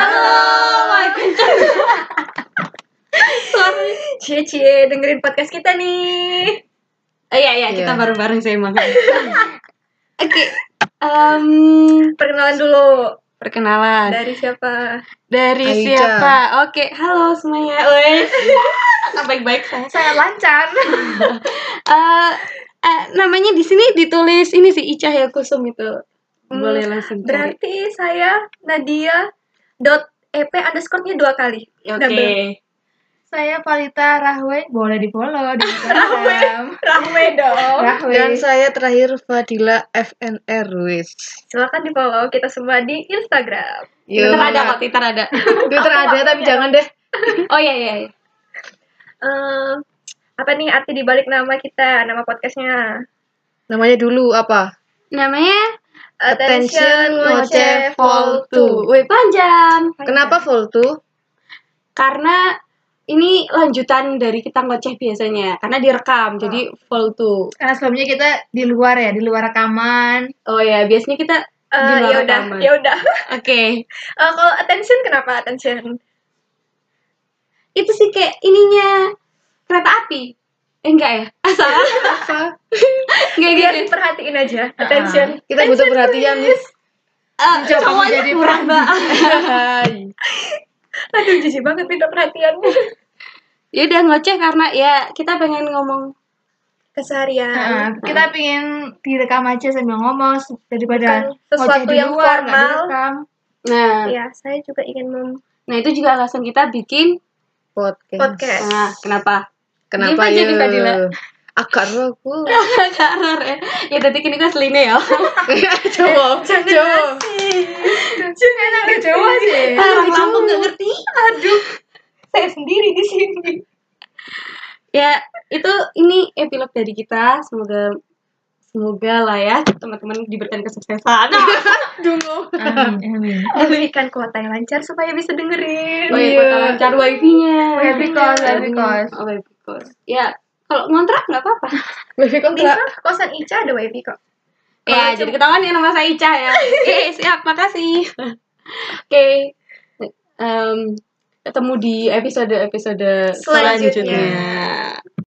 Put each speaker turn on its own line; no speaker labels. Halo,
Wah, kenceng. Sorry.
cie cie dengerin podcast kita nih.
Eh, iya, iya, kita
Iya.
bareng-bareng sih emang.
Oke, em, perkenalan dulu
Perkenalan.
dari siapa?
Dari
Aica.
siapa? Oh, Oke, halo semuanya. Wes. Baik-baik saya.
Saya lancar.
Eh, eh, namanya di sini ditulis ini sih Ica ya Kusum itu.
Hmm,
Boleh langsung cari.
Berarti saya Nadia dot ep underscore-nya dua kali.
Ya, Oke.
double.
Saya Palita Rahwe, boleh di follow di Instagram.
Rahwe dong.
Rahwe.
Dan saya terakhir Fadila FNR Ruiz.
Silakan di follow kita semua di Instagram.
Yo.
Twitter ada kok, Twitter ada.
Twitter ada tapi jangan deh.
Oh iya iya. iya.
Em, Eh, apa nih arti di balik nama kita, nama podcastnya?
Namanya dulu apa?
Namanya
Attention, ngoceh, fall to.
Wih, panjang.
Kenapa full tuh?
Karena ini lanjutan dari kita ngoceh biasanya karena direkam. Jadi full tuh.
Karena Eh, sebelumnya kita di luar ya, di luar rekaman.
Oh ya, biasanya kita di
Eh, ya
luar
udah,
rekaman.
ya udah.
Oke.
Eh, kalau attention kenapa attention?
Itu sih kayak ininya kereta api. Eh enggak ya? Asal
Apa?
enggak
Biar
gitu.
diperhatiin aja. Attention.
Kita butuh perhatian.
Eh,
Mencoba
cowoknya
menjadi
kurang banget.
Hai.
Aduh, jijik banget minta perhatiannya.
ya udah ngoceh karena ya kita pengen ngomong
Keseharian.
Nah, kita pingin direkam aja sambil ngomong se- daripada
Bukan sesuatu
ngoceh di
yang
luar, nggak
formal.
direkam.
nah
Ya, saya juga ingin mem-
nah itu juga alasan kita bikin
Podcast.
podcast.
nah kenapa
Kenapa
Diem aja nih, Fadila.
ya? Akar lu aku.
karor ya ya tadi kini kan seline ya
Coba, coba.
Enak di Jawa sih.
Iya, orang Lampung nggak ngerti aduh
Saya sendiri di sini.
ya itu ini epilog dari kita semoga semoga lah ya teman-teman diberikan kesuksesan
Amin, amin.
Diberikan kuota yang lancar supaya bisa dengerin.
oh iya
Iya.
kota lancar wifi nya
Wifi kos, wifi kos.
oh wifi kos ya kalau ngontrak nggak apa-apa
Wifi
Bisa,
kontrak.
kosan Ica ada wifi kok.
Ya, jadi ketahuan ya nama saya Ica ya. Eh, siap, makasih. Oke. Em, ketemu di episode-episode
Selanjutnya.
selanjutnya.